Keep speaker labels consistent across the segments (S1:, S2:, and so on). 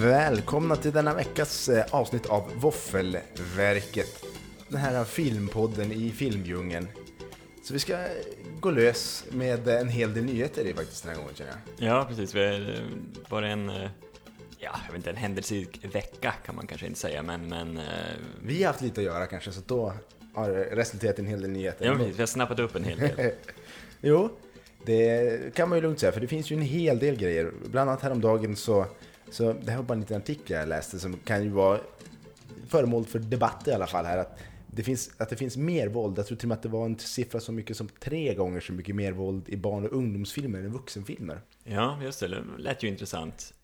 S1: välkomna till denna veckas eh, avsnitt av Våffelverket. Den här filmpodden i filmdjungeln. Så vi ska eh, gå lös med eh, en hel del nyheter i faktiskt den här gången känner jag.
S2: Ja, precis. Vi har eh, bara en, eh, ja, jag vet inte, en händelserik vecka kan man kanske inte säga, men, men eh,
S1: Vi har haft lite att göra kanske så då har det resulterat i en hel del nyheter.
S2: ja, precis, vi har snappat upp en hel del.
S1: Jo, det kan man ju lugnt säga, för det finns ju en hel del grejer. Bland annat häromdagen så, så det här var bara en liten artikel jag läste som kan ju vara föremål för debatt i alla fall här. Att det finns, att det finns mer våld, jag tror till och med att det var en siffra så mycket som tre gånger så mycket mer våld i barn och ungdomsfilmer än i vuxenfilmer.
S2: Ja, just det. Det lät ju intressant.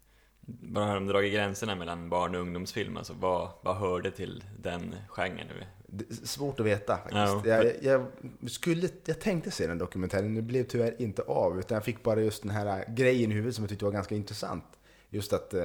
S2: Bara har de dragit gränserna mellan barn och ungdomsfilm, alltså vad, vad hörde till den genren? nu?
S1: Det är svårt att veta faktiskt.
S2: Ja.
S1: Jag, jag, skulle, jag tänkte se den dokumentären, det blev tyvärr inte av. Utan jag fick bara just den här grejen i huvudet som jag tyckte var ganska intressant. Just att eh,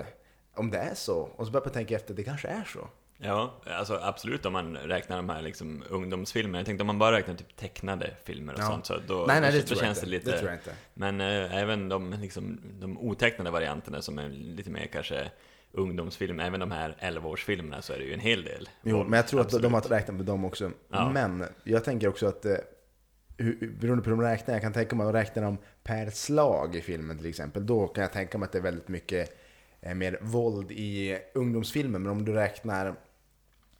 S1: om det är så, och så började jag tänka efter, det kanske är så.
S2: Ja, alltså absolut om man räknar de här liksom ungdomsfilmerna. Jag tänkte om man bara räknar typ tecknade filmer och
S1: Ja.
S2: sånt så då,
S1: Nej, nej,
S2: då,
S1: det
S2: då
S1: tror jag
S2: känns
S1: inte.
S2: det lite...
S1: Det tror jag inte.
S2: Men eh, även de, liksom, de otecknade varianterna som är lite mer kanske ungdomsfilm, även de här 11-årsfilmerna så är det ju en hel del.
S1: Jo,
S2: våld,
S1: men jag tror att
S2: absolut.
S1: de har räknat med dem också.
S2: Ja.
S1: Men jag tänker också att, eh, hur, beroende på hur de räknar, jag kan tänka mig att de räknar dem per slag i filmen till exempel. Då kan jag tänka mig att det är väldigt mycket eh, mer våld i ungdomsfilmer. Men om du räknar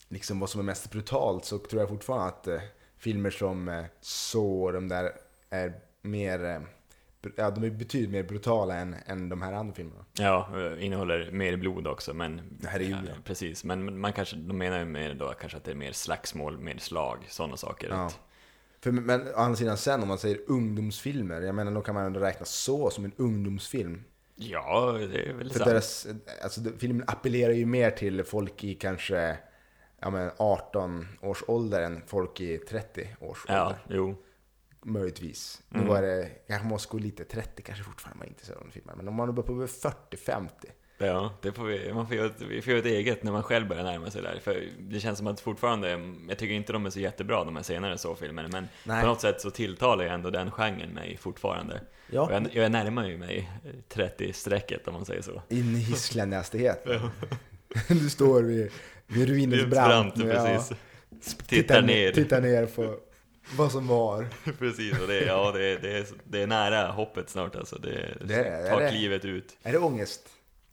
S1: liksom vad som är mest brutalt så tror jag fortfarande att eh, filmer som eh, Saw, de där är mer, eh, br- ja de är betydligt mer brutala än, än de här andra filmerna.
S2: Ja, eh, innehåller mer blod också, men...
S1: Herregud, ja.
S2: Precis, men man kanske, de menar ju mer då kanske att det är mer slagsmål, mer slag, sådana saker.
S1: Ja.
S2: Att-
S1: För, men å andra sidan sen om man säger ungdomsfilmer, jag menar då kan man ändå räkna så som en ungdomsfilm.
S2: ja det är väl
S1: För
S2: sant.
S1: deras, alltså, de- filmen appellerar ju mer till folk i kanske ja, men 18 års ålder än folk i 30 års
S2: Ja, Mm.
S1: ålder.
S2: jo.
S1: Möjligtvis. Nu var det, kanske måste gå lite 30 kanske fortfarande man är intresserad av den filmen. Men om man börjar på 40-50.
S2: Ja, det får vi, man får göra, ett, vi får göra ett eget när man själv börjar närma sig där. För det känns som att fortfarande, jag tycker inte de är så jättebra de här senare så-filmerna, men
S1: Nej.
S2: på något sätt så tilltalar ju ändå den genren mig fortfarande.
S1: Ja.
S2: Och jag, jag närmar ju mig 30-strecket om man säger så.
S1: In i hisslande hastighet. du står vid, vid ruinens brant.
S2: Brant,
S1: ja.
S2: precis. Tittar ner,
S1: Tittar ner på vad som var.
S2: precis. Och det, är- ja, det, är- det, är, det är nära hoppet snart alltså. Det,
S1: Det är det.
S2: tar
S1: Det är det.
S2: klivet ut.
S1: Är det ångest?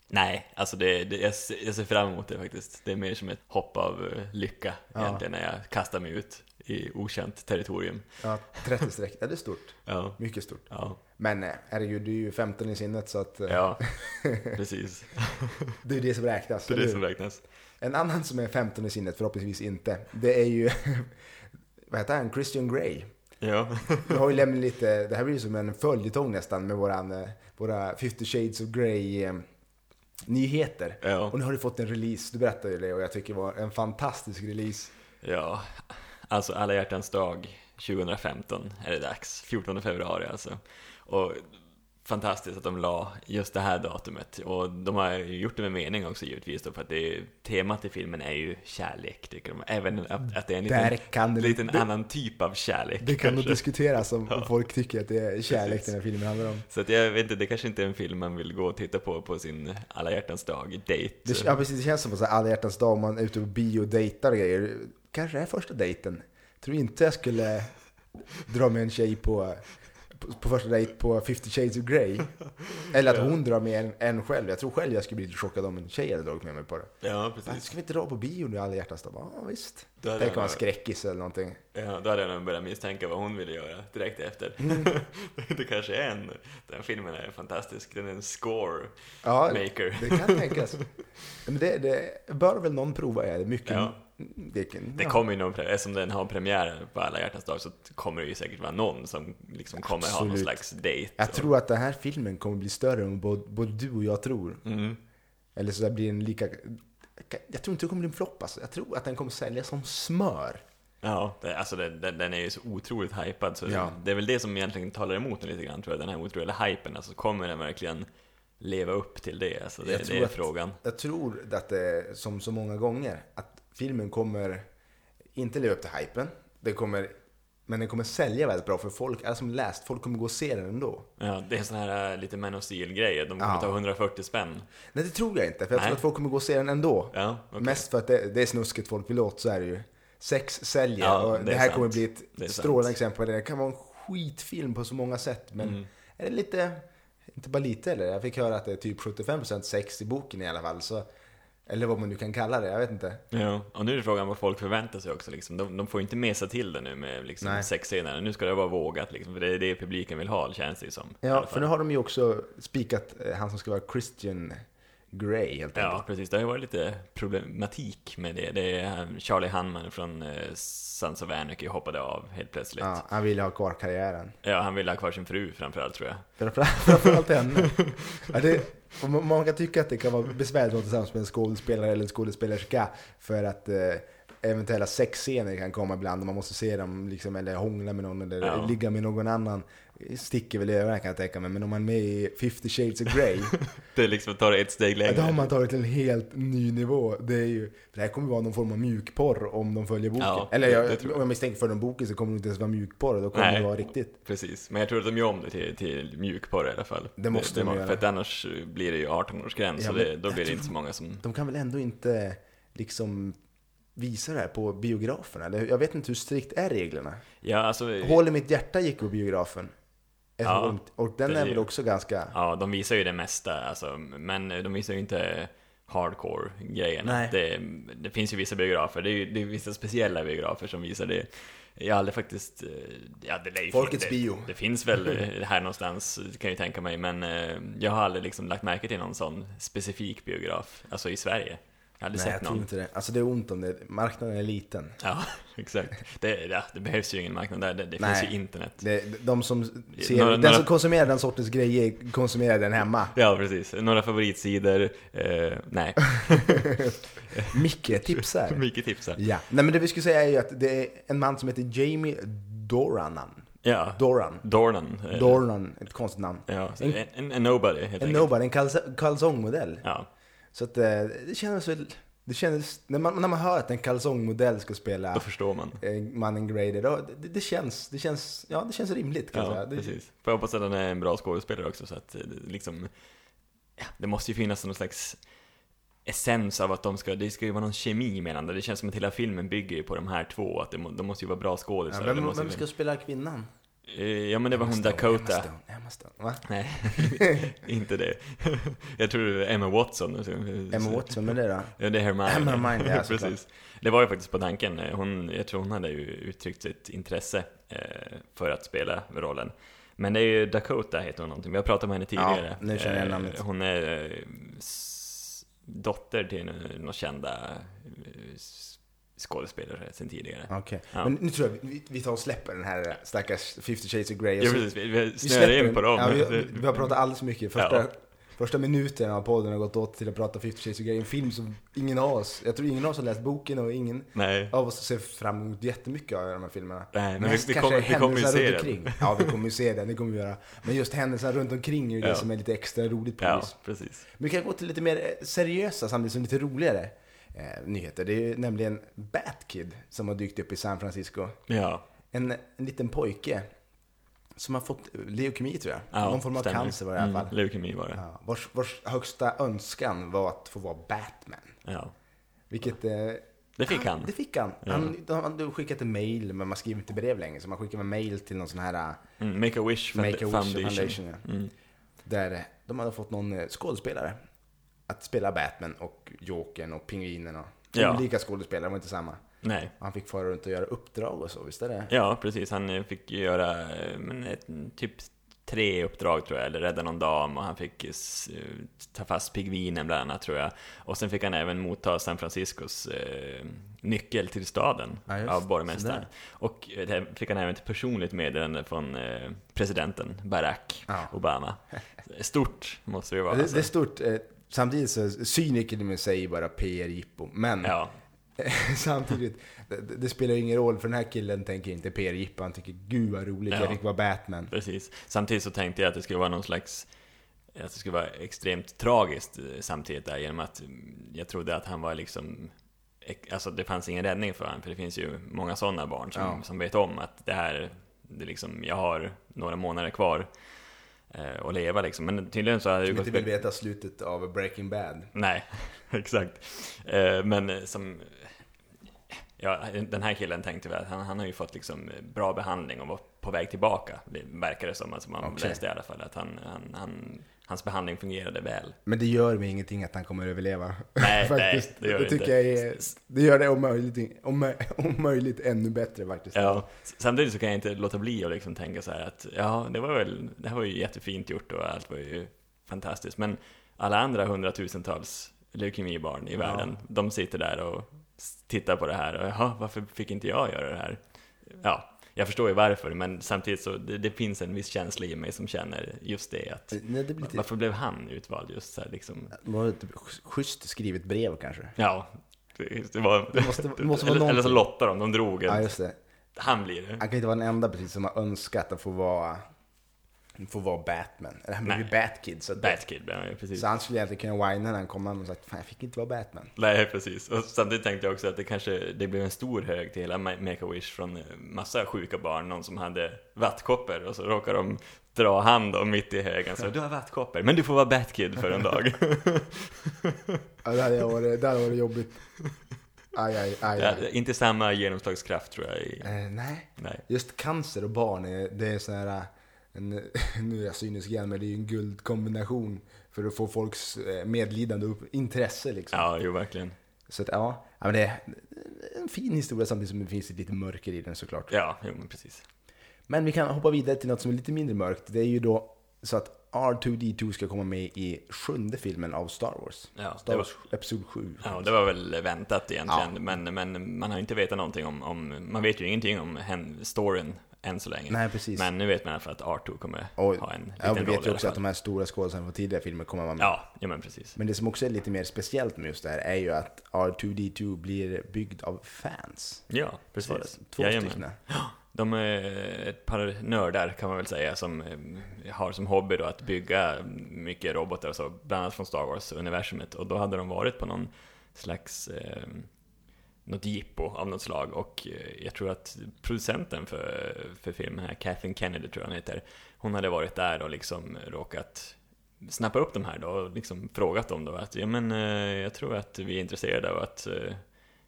S2: Nej, alltså det, det, jag, ser, jag ser fram emot det faktiskt. Det är mer som ett hopp av eh, lycka egentligen när jag kastar mig ut i okänt territorium.
S1: Ja, 30 streck. Ja, det är stort.
S2: Ja,
S1: Mycket stort.
S2: ja,
S1: Men eh, herregud, du är ju 15 i sinnet så att eh,
S2: ja precis.
S1: det är det som räknas.
S2: Det är
S1: eller
S2: det
S1: hur?
S2: som räknas.
S1: En annan som är 15 i sinnet, förhoppningsvis inte, det är ju, vad heter han, Christian Grey.
S2: Ja,
S1: Vi har ju lämnat lite, det här blir ju som en följetong nästan med våran, eh, våra 50 Shades of Grey eh, nyheter.
S2: Ja.
S1: Och nu har du fått en release, du berättade ju det och jag tycker det var en fantastisk release.
S2: ja. Alltså alla hjärtans dag 2015 är det dags. 14 februari alltså. Och fantastiskt att de la just det här datumet. Och de har ju gjort det med mening också givetvis då, för att det är, temat i filmen är ju kärlek, tycker de. Även att, att det är en
S1: Där
S2: liten,
S1: kan det-
S2: liten
S1: det-
S2: annan typ av kärlek.
S1: Det kan nog
S2: kanske.
S1: diskuteras om
S2: Ja.
S1: folk tycker att det är kärlek den här filmen handlar om.
S2: Så att jag vet inte, det kanske inte är en film man vill gå och titta på på sin alla hjärtans dag-dejt.
S1: Det, ja, precis. Det känns som en alla hjärtans dag om man är ute på bio och dejtar och grejer. Kanske det är första dejten. Tror inte jag skulle dra med en tjej på, på, på första dejt på 50 shades of Grey. Eller att hon drar med en, en själv. Jag tror själv jag skulle bli lite chockad om en tjej hade dragit med mig på det.
S2: Ja,
S1: Men
S2: precis.
S1: Ska vi inte dra på bio nu alla hjärtans dag? Ja, visst.
S2: Då hade
S1: Tänk
S2: jag
S1: om man
S2: nog-
S1: skräckis eller någonting.
S2: Ja, då hade jag nog börjat misstänka vad hon ville göra direkt efter.
S1: Mm.
S2: det kanske är en... Den filmen är fantastisk. Den är en score
S1: Ja,
S2: maker.
S1: det kan tänkas. Men det, det bör väl någon prova? Är det mycket?
S2: Ja.
S1: Det, kan-
S2: Det kommer ju någon premiär, eftersom den har premiär på alla hjärtans dag så kommer det ju säkert vara någon som liksom kommer ha någon
S1: Absolut.
S2: slags dejt.
S1: Jag tror att den här filmen kommer bli större än både, både du och jag tror.
S2: Mm.
S1: Eller så där blir den lika... Jag tror inte det kommer bli en flopp alltså. Jag tror att den kommer säljas som smör.
S2: Ja, det, alltså det, den, den är ju så otroligt hypad så
S1: Ja.
S2: det är väl det som egentligen talar emot den lite grann tror jag, den här otroliga hypen. Alltså kommer den verkligen leva upp till det? Alltså
S1: Jag
S2: det,
S1: tror
S2: det är
S1: att-
S2: frågan.
S1: Jag tror att det, som så många gånger, att filmen kommer inte leva upp till hypen. Det kommer Men den kommer sälja väldigt bra för folk, alla som läst, folk kommer gå och se den ändå.
S2: Ja, det är sån här eh, lite Man of Steel-grejer. De kommer
S1: Ja.
S2: ta 140 spänn.
S1: Nej, det tror jag inte. För jag
S2: Nej.
S1: tror att folk kommer gå och se den ändå.
S2: Ja, okej.
S1: Mest för att det, det är snuskigt folk vill åt, så är det ju. Sex säljer
S2: Ja,
S1: och
S2: det
S1: det,
S2: är
S1: här
S2: sant.
S1: kommer bli
S2: Det är
S1: ett
S2: sant.
S1: strålande exempel på det. Det kan vara en skitfilm på så många sätt, men
S2: Mm.
S1: är det lite, inte bara lite eller? Jag fick höra att det är typ 75% sex i boken i alla fall, så, eller vad man nu kan kalla det, jag vet inte.
S2: Ja, och nu är frågan vad folk förväntar sig också. Liksom. De, de får ju inte mesa till det nu med liksom,
S1: Nej.
S2: sexscener. Nu ska det vara vågat, liksom, för det är det publiken vill ha, känns det ju som. i alla
S1: Ja,
S2: fall.
S1: för nu har de ju också spikat eh, han som ska vara Christian Grey helt enkelt.
S2: Ja, precis. Det har ju varit lite problematik med det. Det är eh, Charlie Hanman från eh, Sons of Anarchy hoppade av helt plötsligt. Ja.
S1: Ja, han vill ha kvar karriären.
S2: han ville ha kvar sin fru framförallt tror jag.
S1: Framförallt framförallt henne. Ja, det, och man man kan tycka att det kan vara besvärligt att vara tillsammans med en skådespelare eller en skådespelerska för att eh, eventuella sexscener kan komma ibland och man måste se dem liksom, eller hångla med någon eller
S2: Ja.
S1: ligga med någon annan. Sticker väl i ögonen kan jag tänka mig, men om man är med i 50 shades of Grey,
S2: Det är liksom tar det ett steg
S1: ja,
S2: längre.
S1: då har man tagit till en helt ny nivå. Det, är ju, det här kommer vara någon form av mjukporr om de följer boken.
S2: Ja,
S1: eller
S2: det-
S1: jag,
S2: det tror jag.
S1: om jag misstänker för den boken så kommer det inte ens vara mjukporr, då kommer
S2: Nej.
S1: det vara riktigt.
S2: Precis, men jag tror att de gör om det till, till mjukporr i alla fall.
S1: Det måste de
S2: var-
S1: göra.
S2: För att annars blir det ju 18-årsgräns
S1: Ja,
S2: och
S1: men
S2: det, då
S1: jag
S2: blir det
S1: tror-
S2: inte så många som...
S1: De kan väl ändå inte liksom visa det här på biograferna? Eller Jag vet inte hur strikt är reglerna?
S2: Ja, alltså...
S1: Hål i mitt hjärta gick på biografen. Ett
S2: Ja,
S1: hål- och den
S2: det är
S1: är
S2: ju-
S1: väl också ganska...
S2: Ja, de visar ju det mesta, alltså, men de visar ju inte hardcore-grejerna.
S1: Nej.
S2: Det, det finns ju vissa biografer, det är ju det är vissa speciella biografer som visar det. Jag har aldrig faktiskt... eh, Ja, det lär ju
S1: Folkets
S2: det,
S1: bio.
S2: Det finns väl eh, här någonstans, kan jag ju tänka mig, men eh, jag har aldrig liksom lagt märke till någon sån specifik biograf, alltså i Sverige. Jag har aldrig
S1: Nej, jag
S2: sett någon.
S1: tror inte det. Alltså det är ont om det. Marknaden är liten.
S2: Ja, exakt. Det, ja, det behövs ju ingen marknad där, det, det
S1: Nej.
S2: finns ju internet.
S1: Det, de som ser,
S2: Några-
S1: den
S2: några-
S1: som konsumerar den sortens grejer konsumerar den hemma.
S2: Ja, precis. Några favoritsidor, eh, nej.
S1: Micke tipsar.
S2: Mycket tipsar.
S1: Ja. Nej men det vi skulle säga är ju att det är en man som heter Jamie Doranan.
S2: Ja,
S1: Doran.
S2: Dornan. eh,
S1: Doranan, ett konstigt namn.
S2: Ja, så en, en, en nobody helt
S1: En
S2: enkelt.
S1: nobody, en kalso- kalsongmodell.
S2: Ja,
S1: Så att eh, det kändes väl... Det kändes, när, man, när man hör att en kalsongmodell ska
S2: då
S1: spela
S2: förstår man.
S1: eh, mannen Grader, då, det, det, känns, det, känns, ja, det känns rimligt kan
S2: Ja,
S1: jag säga. Det,
S2: precis. Får jag hoppas att han är en bra skådespelare också så att eh, det liksom, ja, det måste ju finnas någon slags essens av att de ska, det ska ju vara någon kemi mellan dem. Det känns som att hela filmen bygger ju på de här två, att det, må- de måste ju vara bra
S1: ja,
S2: skådisar. det
S1: vem,
S2: måste ju
S1: vem ska
S2: vara-
S1: spela kvinnan?
S2: Eh, Ja men det var hon
S1: Stone, Emma
S2: Dakota.
S1: Stone, Emma Stone, va?
S2: Nej, inte det. Jag tror det är Emma Watson.
S1: Emma Watson, men det då?
S2: Ja, det är Hermione.
S1: Emma Hermione, ja, såklart.
S2: Precis. Det var ju faktiskt på tanken. Hon, jag tror hon hade ju uttryckt sitt intresse eh, för att spela rollen. Men det är ju Dakota heter hon någonting. Vi har pratat med henne tidigare.
S1: nu känner jag
S2: Eh,
S1: namnet.
S2: Hon är eh, s- dotter till n- några kända eh, s- skådespelare sen tidigare. Ja,
S1: Okej.
S2: Ja.
S1: Men nu tror jag vi, vi tar och släpper den här eh, stackars 50 shades of Grey. och så-
S2: precis. Vi, vi
S1: vi
S2: snöar in
S1: den.
S2: på dem.
S1: Ja, vi, vi har pratat alldeles för mycket. Första,
S2: Ja.
S1: första minuten av podden har gått åt till att prata 50 shades of Grey. En film som ingen av oss, jag tror ingen av oss har läst boken och ingen
S2: Nej.
S1: av oss ser fram emot jättemycket av de här filmerna.
S2: Nej, men vi-
S1: Mest
S2: vi
S1: kanske
S2: kommer- vi kommer ju
S1: händelser
S2: se
S1: runt
S2: den.
S1: omkring. Ja, vi kommer ju se den, det kommer vi göra. Men just händelserna runt omkring är ju
S2: Ja.
S1: det som är lite extra roligt på
S2: Ja,
S1: vis.
S2: precis.
S1: Men vi kan gå till lite mer eh, seriösa samtidigt som lite roligare eh, nyheter. Det är ju nämligen Batkid som har dykt upp i San Francisco.
S2: Ja,
S1: En, en liten pojke som har fått eh, leukemi tror jag.
S2: ja
S1: Någon form av
S2: stämmer.
S1: cancer var det i alla fall.
S2: Mm, leukemi var det.
S1: Ja, vars, vars högsta önskan var att få vara Batman.
S2: Ja.
S1: Vilket... Eh,
S2: Det fick han.
S1: Det fick han. Han, han, han skickade ett mail, men man skriver inte brev längre. Så man skickar ett mail till någon sån här eh,
S2: Mm, Make a Wish
S1: Make-A-Wish
S2: Foundation. Mm.
S1: Foundation. ja. Där eh, de hade fått någon eh, skådespelare att spela Batman och Jokern och Pingvinen och
S2: Ja.
S1: olika skådespelare, de var inte samma.
S2: Nej.
S1: Och han fick fara runt och göra uppdrag och så, visst är det?
S2: Ja, precis. Han eh, fick ju göra eh, men, ett, typ tre uppdrag tror jag, eller rädda någon dam och han fick eh, s- eh, ta fast pingvinen bland annat tror jag. Och sen fick han även motta San Franciscos eh, nyckel till staden
S1: Ja, just
S2: av borgmästaren.
S1: sådär.
S2: Och eh, det här fick han även ett personligt meddelande från eh, presidenten Barack
S1: Ja.
S2: Obama. Stort måste det ju vara.
S1: Det,
S2: alltså.
S1: det är stort. eh, Samtidigt så, cyniker i mig säger bara PR-jippo. Men
S2: Ja,
S1: samtidigt, det, det spelar ju ingen roll för den här killen tänker inte PR-jippo. Han tycker gud vad roligt,
S2: Ja.
S1: jag fick vara Batman.
S2: Precis. Samtidigt så tänkte jag att det skulle vara någon slags att det skulle vara extremt tragiskt eh, samtidigt där genom att mm, jag trodde att han var liksom alltså det fanns ingen räddning för honom, för det finns ju många sådana barn som,
S1: Ja.
S2: som vet om att det här, det är liksom, jag har några månader kvar eh, att leva liksom. Men tydligen så hade det
S1: Som
S2: gått...
S1: inte vill veta slutet av Breaking Bad.
S2: Nej, exakt. Eh, men eh, som... Ja, den här killen tänkte väl att han, han har ju fått liksom bra behandling och var på väg tillbaka, det verkar det som. Alltså man
S1: Okej.
S2: läste i alla fall att han, han, han, hans behandling fungerade väl.
S1: Men det gör mig ingenting att han kommer att överleva.
S2: Nej,
S1: faktiskt.
S2: nej, det gör det
S1: tycker
S2: inte.
S1: jag är, det gör det om möjligt, om, om möjligt ännu bättre faktiskt.
S2: Ja, s- samtidigt så kan jag inte låta bli att liksom tänka så här att ja, det var väl, det här var ju jättefint gjort och allt var ju fantastiskt. Men alla andra hundratusentals leukemibarn i världen, de sitter där och s- tittar på det här och jaha, varför fick inte jag göra det här? Ja, jag förstår ju varför, men samtidigt så det, det finns en viss känsla i mig som känner just det att
S1: Nej, det blir lite,
S2: varför blev han utvald just så här liksom?
S1: var det ett typ schysst skrivet brev kanske?
S2: Ja, det, det var...
S1: Det måste- det måste vara
S2: eller, eller så
S1: någonting.
S2: lottade de, de drog
S1: Ja,
S2: en,
S1: just det.
S2: han blir det.
S1: Han kan inte vara den enda precis som har önskat att få vara, få vara Batman. Eller han blev ju Batkid. Så, att-
S2: Batkid blev han ju, precis.
S1: så han skulle egentligen kunna whina när han kom hem och sagt Fan, jag fick inte vara Batman.
S2: Nej, precis. Och samtidigt tänkte jag också att det kanske det blev en stor hög till hela Ma- Make-A-Wish från eh, massa sjuka barn, någon som hade vattkoppor och så råkar de dra hand om mitt i högen så du har vattkoppor, men du får vara Batkid för en dag.
S1: Ja, det hade varit, det hade varit jobbigt. Aj, aj, aj.
S2: ja,
S1: aj.
S2: inte samma genomslagskraft tror jag. I,
S1: Eh, nej.
S2: nej.
S1: Just cancer och barn, är, det är sån här, äh, en, nu är jag cynisk igen, men det är ju en guldkombination för att få folks eh, medlidande och upp, intresse liksom.
S2: Ja, jo verkligen.
S1: Så att, ja, ja, men det är en fin historia samtidigt som det finns lite mörker i den såklart.
S2: Ja, jo men precis.
S1: Men vi kan hoppa vidare till något som är lite mindre mörkt. Det är ju då så att R2D2 ska komma med i sjunde filmen av Star Wars.
S2: Ja,
S1: Star
S2: det var,
S1: Wars Episod 7.
S2: ja, det var väl väntat egentligen, men, men man har ju inte vetat någonting om, om man vet ju ingenting om hen, storyn än så länge.
S1: Nej, precis.
S2: Men nu vet man i alla fall att Arto kommer
S1: och
S2: ha en liten
S1: ja, vi
S2: roll
S1: vet
S2: i
S1: ju
S2: alla
S1: också
S2: fall.
S1: att de här stora skådespelarna från tidigare filmer kommer vara med.
S2: Ja, ja men precis.
S1: Men det som också är lite mer speciellt med just det här är ju att R2D2 blir byggd av fans.
S2: Ja, precis.
S1: Var det två
S2: Jajamän.
S1: stycken?
S2: De är ett par nördar kan man väl säga som eh, har som hobby då att bygga mycket robotar och så, bland annat från Star Wars-universumet. Och då hade de varit på någon slags, eh, något jippo av något slag. Och eh, jag tror att producenten för, för filmen här, Kathleen Kennedy tror jag hon heter, hon hade varit där och liksom råkat snappa upp de här då och liksom frågat dem då att ja men eh, jag tror att vi är intresserade av att eh,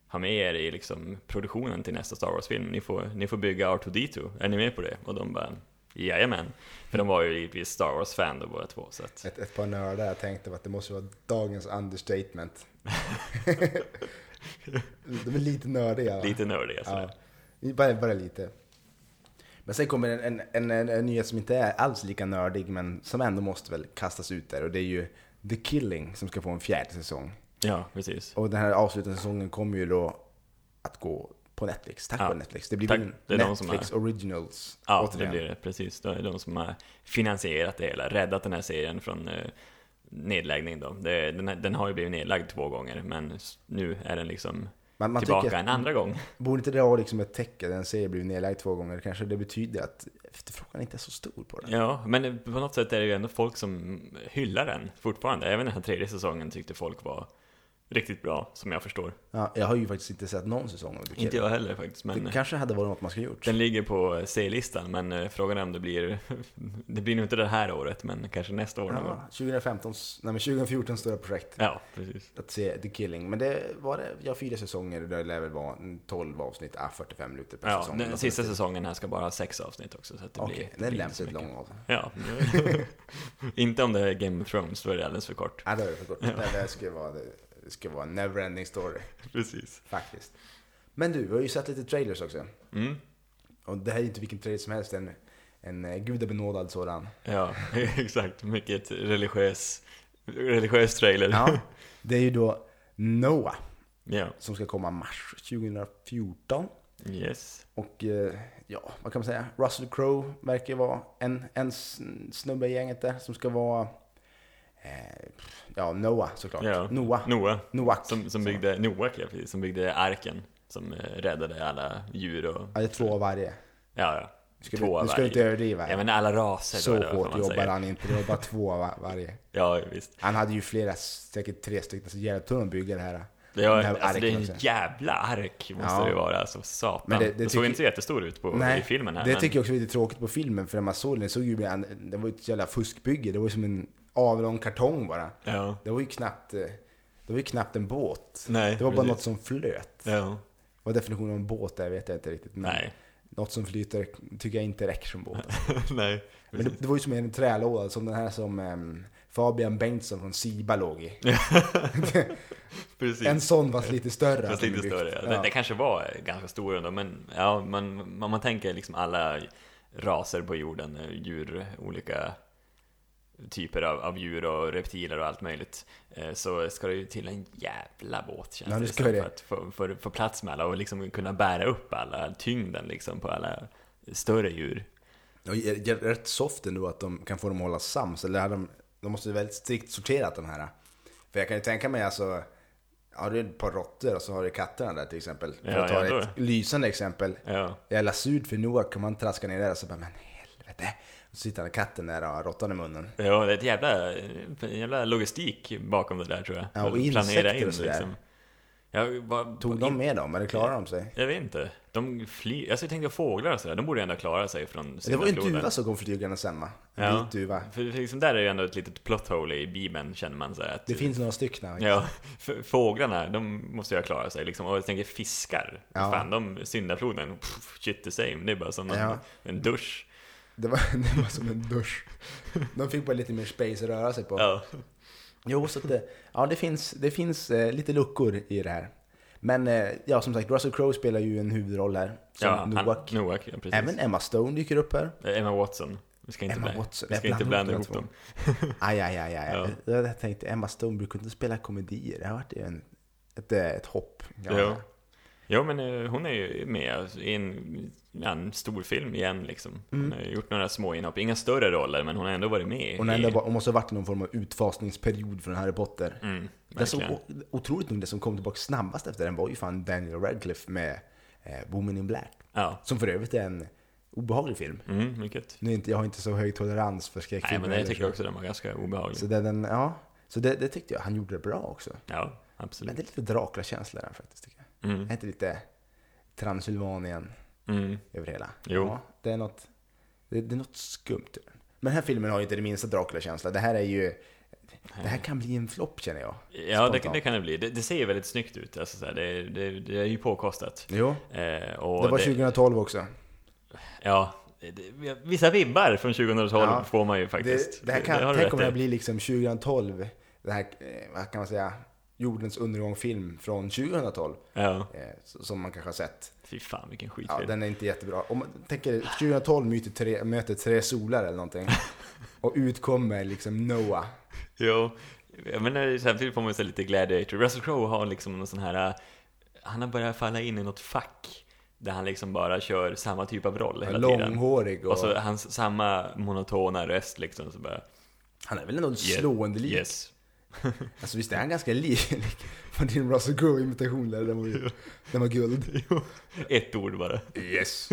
S2: ha med er i liksom produktionen till nästa Star Wars-film. Ni får, ni får bygga R2D2, är ni med på det? Och de bara Jajamän, för de var ju givetvis Star Wars-fan då båda två. Så att,
S1: Ett, ett par nördar jag tänkte att det måste vara dagens understatement. De är lite nördiga. va?
S2: lite nördiga
S1: Ja,
S2: sådär.
S1: bara, bara lite. Men sen kommer en, en, en, en, en nyhet som inte är alls lika nördig men som ändå måste väl kastas ut där och det är ju The Killing som ska få en fjärde säsong.
S2: Ja, precis.
S1: Och den här avslutande säsongen kommer ju då att gå på Netflix, tack
S2: Ja.
S1: vare Netflix. Det blir
S2: Tack.
S1: väl
S2: Det är de som
S1: Netflix Originals
S2: Ja, det
S1: återigen.
S2: blir det. Precis. Det är de som har finansierat det hela, räddat den här serien från eh, nedläggning då. Det, den, den har ju blivit nedlagd två gånger, men s- nu är den liksom
S1: Man, man
S2: tillbaka
S1: tycker,
S2: en andra gång.
S1: borde inte det vara liksom ett tecken, en serie blivit nedlagd två gånger, kanske det betyder att efterfrågan inte är så stor på den.
S2: Ja, men på något sätt är det ju ändå folk som hyllar den fortfarande. Även den här tredje säsongen tyckte folk var riktigt bra, som jag förstår.
S1: Ja, jag har ju faktiskt inte sett någon säsong av The
S2: Inte
S1: Killing.
S2: jag heller faktiskt, men eh,
S1: Det kanske hade varit något man skulle gjort.
S2: den ligger på C-listan. Men eh, frågan är om det blir... Det blir nog inte det här året, men kanske nästa år någon gång.
S1: Ja, 2015, nej men 2014 stora projekt.
S2: Ja, precis.
S1: Att se The Killing. Men det var det, ja fyra säsonger, det lär väl vara en 12 avsnitt, ah, 45 minuter per
S2: Ja,
S1: säsong.
S2: den
S1: Något
S2: sista
S1: sånt.
S2: säsongen här ska bara ha sex avsnitt också, så att det
S1: Okej,
S2: blir...
S1: den är
S2: blir inte så
S1: lämpligt
S2: mycket.
S1: lång av.
S2: Ja. inte om det är Game of Thrones, då är det alldeles för kort.
S1: Ja, det är det för kort. Nej, Det ska vara, det ska vara en neverending story,
S2: Precis.
S1: faktiskt. Men du, vi har ju sett lite trailers också.
S2: Mm.
S1: Och det här är ju inte vilken trailer som helst, en, en eh, gudabenådad sådan.
S2: Ja, exakt. Mycket religiös, religiös trailer.
S1: Ja, det är ju då Noah
S2: ja.
S1: som ska komma mars 2014.
S2: Yes.
S1: Och eh, ja, vad kan man säga? Russell Crowe verkar ju vara en, en sn- snubbe i gänget där som ska vara... Eh, ja, Noah såklart.
S2: Ja.
S1: Noah.
S2: Noah,
S1: Noah.
S2: som, som byggde Noak, ja, precis, som byggde arken. Som eh, räddade alla djur och...
S1: Ja, det är två av varje.
S2: Ja, ja.
S1: Ska
S2: Två
S1: du,
S2: av
S1: nu ska du
S2: varje.
S1: inte överdriva.
S2: Ja, men alla raser
S1: så
S2: då, eller vad
S1: hårt
S2: man
S1: jobbar
S2: säger.
S1: han inte. Det var bara två av varje.
S2: Ja, visst.
S1: Han hade ju flera, säkert tre stycken, så jävla tunn att bygga det här.
S2: Det, har,
S1: Det här
S2: alltså, det är
S1: arken
S2: en
S1: också.
S2: jävla ark måste
S1: Ja.
S2: det vara, alltså satan.
S1: Men
S2: Men
S1: det-
S2: det,
S1: det
S2: såg
S1: tycker-
S2: inte så jättestor ut på, i filmen här.
S1: Det
S2: men...
S1: tycker jag också är lite tråkigt på filmen, för när man såg den, det såg ju ibland, det var ju ett jävla fuskbygge. Det var ju som en avlång kartong bara.
S2: Ja.
S1: Det var ju knappt, eh, det var ju knappt en båt.
S2: Nej,
S1: det var bara något
S2: precis.
S1: Mm. som flöt.
S2: Ja.
S1: Vad definitionen av en båt är vet jag inte riktigt. Men
S2: Nej.
S1: Något som flyter tycker jag inte räcker som båt.
S2: Nej.
S1: Men det, det var ju som en trälåda, som den här som ehm, Fabian Bengtsson från Siba låg i.
S2: Precis.
S1: En sån fast lite större.
S2: Fast
S1: hade de
S2: lite
S1: byggt.
S2: större. Ja.
S1: Ja.
S2: Den, den kanske var ganska stor ändå, men ja, man, man, man tänker liksom alla raser på jorden, eh, djur, olika typer av, av djur och reptiler och allt möjligt. Eh, Så ska det ju till en jävla båt känns
S1: Ja, det
S2: det
S1: ska
S2: som,
S1: det.
S2: för att få, för, få plats med alla och liksom kunna bära upp alla tyngden liksom på alla större djur.
S1: Ja, det är rätt soft ändå att de kan få dem att hålla sams. Eller hade de, de måste ju väldigt strikt sorterat de här. För jag kan ju tänka mig alltså, har du ett par råttor och så har du katterna där till exempel. För
S2: Ja,
S1: att ta
S2: jag tror
S1: ett lysande exempel.
S2: Ja.
S1: Jävla surt för Noah kan man traska ner där och så bara, men helvete. Och så sitter han katten där och har råttan i munnen.
S2: Ja, det är ett jävla, en jävla logistik bakom det där tror jag.
S1: Ja, och
S2: Planera liksom.
S1: insekter och sådär.
S2: Ja, vad,
S1: Tog de med dem eller klarade de sig?
S2: Jag vet inte. De flyr. Alltså jag tänkte fåglar och sådär, de borde ju ändå klara sig från
S1: Det var ju en
S2: syndafloden.
S1: duva som kom flygande sen va? En vit duva.
S2: För för liksom där är ju ändå ett litet plot hole i Bibeln känner man så här att...
S1: Det finns några stycken.
S2: Ja, f- fåglarna, de måste ju klara sig liksom. Och jag tänker fiskar,
S1: Ja.
S2: fan de, syndafloden, pff, shit the same. Det är bara som någon,
S1: Ja.
S2: en dusch.
S1: Det var, det var som en dusch. De fick bara lite mer space att röra sig på.
S2: Ja.
S1: Jo, så att det, ja, det finns, det finns eh, lite luckor i det här. Men eh, ja, som sagt, Russell Crowe spelar ju en huvudroll här. Som
S2: Ja,
S1: Noak.
S2: Han, Noak, ja, precis.
S1: Även Emma Stone dyker upp här.
S2: Eh, Emma Watson. Vi ska inte,
S1: Emma
S2: blanda-
S1: Watson.
S2: Vi ska
S1: Jag
S2: inte
S1: blandar
S2: blanda
S1: ihop
S2: ihop
S1: de
S2: dem.
S1: Aj, aj, aj, aj.
S2: Ja.
S1: Jag hade tänkt, Emma Stone brukar inte spela komedier. Det har varit en, ett, eh, ett hopp.
S2: Ja. Jo. men eh, hon är ju med i en, ja, en stor film igen liksom. Hon har ju gjort några små inhopp, inga större roller, men hon har ändå varit med.
S1: Mm. Hon,
S2: i...
S1: har ändå, var- hon måste ha varit i någon form av utfasningsperiod från Harry Potter.
S2: Mm,
S1: Det som,
S2: verkligen.
S1: o- otroligt nog, det som kom tillbaka snabbast efter den var ju fan Daniel Radcliffe med eh, Woman in Black.
S2: Ja,
S1: Som för övrigt är en obehaglig film.
S2: mm, mycket.
S1: Nu är inte, jag har inte så hög tolerans för skräckfilmer.
S2: Nej, men det
S1: heller,
S2: tycker
S1: så-
S2: jag också den var ganska obehaglig.
S1: Så, det, den, ja, så det, det tyckte jag. Han gjorde det bra också.
S2: Ja,
S1: Men
S2: absolut.
S1: det är lite Dracula-känsla där faktiskt. Tycker jag.
S2: Mm,
S1: Är inte lite Transylvanien
S2: mm.
S1: över hela?
S2: Jo.
S1: Ja, det, är något, det, det är något skumt. i den. Men den här filmen har ju inte det minsta Dracula-känsla. Det här är ju... Det här kan bli en flopp känner jag.
S2: Ja, det,
S1: Spontant.
S2: det kan det bli. Det, det ser ju väldigt snyggt ut. Alltså, så här, det, det, det är ju påkostat.
S1: Jo.
S2: Eh, och
S1: Det var 2012 också.
S2: Ja, det, det, vissa vibbar från 2012
S1: Ja,
S2: får man ju faktiskt.
S1: Det, det här kan,
S2: har du
S1: tänk
S2: rätt
S1: om det här
S2: i.
S1: blir liksom 2012, det här, eh, vad kan man säga, jordens undergång-film från 2012.
S2: Ja,
S1: Eh, s- som man kanske har sett.
S2: fy fan vilken skitfilm.
S1: Ja, den är inte jättebra. Om man tänker 2012 möter tre, möter tre solar eller någonting. Och utkommer liksom Noah.
S2: Jo, jag menar samtidigt får man ju så här lite gladiator. Russell Crowe har liksom någon sån här, äh, han har börjat falla in i något fack där han liksom bara kör samma typ av roll hela tiden. Alltså,
S1: Långhårig och...
S2: Och så hans samma monotona röst liksom så bara
S1: han är väl ändå
S2: "Yeah,
S1: slående lik.
S2: Yes.
S1: Alltså visst är han ganska lik? Var din Russell Crowe-imitation där? Den var ju... Den var guld.
S2: Ett ord bara.
S1: Yes.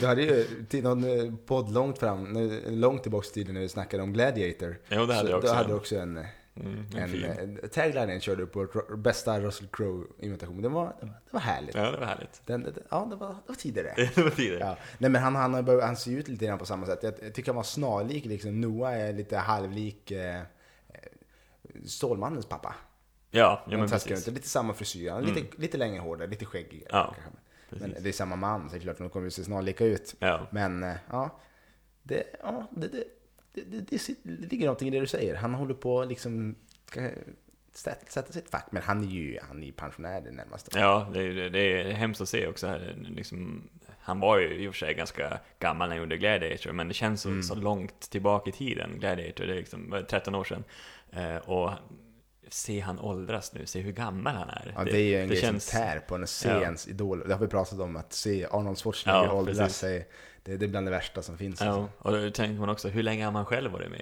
S1: Du hade ju till någon eh, podd långt fram, nu- långt tillbaka i tiden när du snackade om Gladiator.
S2: Jo, det hade
S1: Så
S2: jag också
S1: Du hade
S2: en.
S1: också en...
S2: Mm, en
S1: en, eh,
S2: fin.
S1: en taglinen körde du på ro- bästa Russell Crowe-imitation. Det var, det var, det var härligt.
S2: Ja, det var härligt.
S1: Den, den, ja, det var, det var tidigare.
S2: Det var tidigare.
S1: Ja. Nej, men han, han, har börjat- han ser ju ut lite grann på samma sätt. Jag, jag tycker han var snarlik. Liksom. Noah är lite halvlik eh, eh, Stålmannens pappa.
S2: Ja, ja
S1: Om
S2: men
S1: jag taskar
S2: precis.
S1: Inte.
S2: Mm.
S1: Lite samma frisyr. Han är lite, lite längre hår där, lite skäggigare.
S2: Ja,
S1: kanske. men det är samma man, så det är klart de kommer ju se snarlika ut.
S2: Ja.
S1: Men eh, ja, det, ja det, det, det, det, det, sit- det ligger någonting i det du säger. Han håller på att liksom ska sätta- sätta sitt fack. Men han är ju han är ju pensionär det närmaste.
S2: Ja, det, är- det är hemskt att se också här. Liksom, han var ju i och för sig ganska gammal när han gjorde Gladiator, men det känns
S1: Mm.
S2: som så långt tillbaka i tiden, Gladiator, det är liksom vad är det, 13 år sedan. Eh, och se han åldras nu, se hur gammal han är.
S1: Ja, det är ju en grej
S2: känns-
S1: som tär på en scens idol. Det har vi pratat om, att se Arnold Schwarzenegger
S2: Ja,
S1: åldras
S2: precis.
S1: sig. Det, det är bland det värsta som finns.
S2: Ja, och då tänker man också, hur länge har man själv varit med?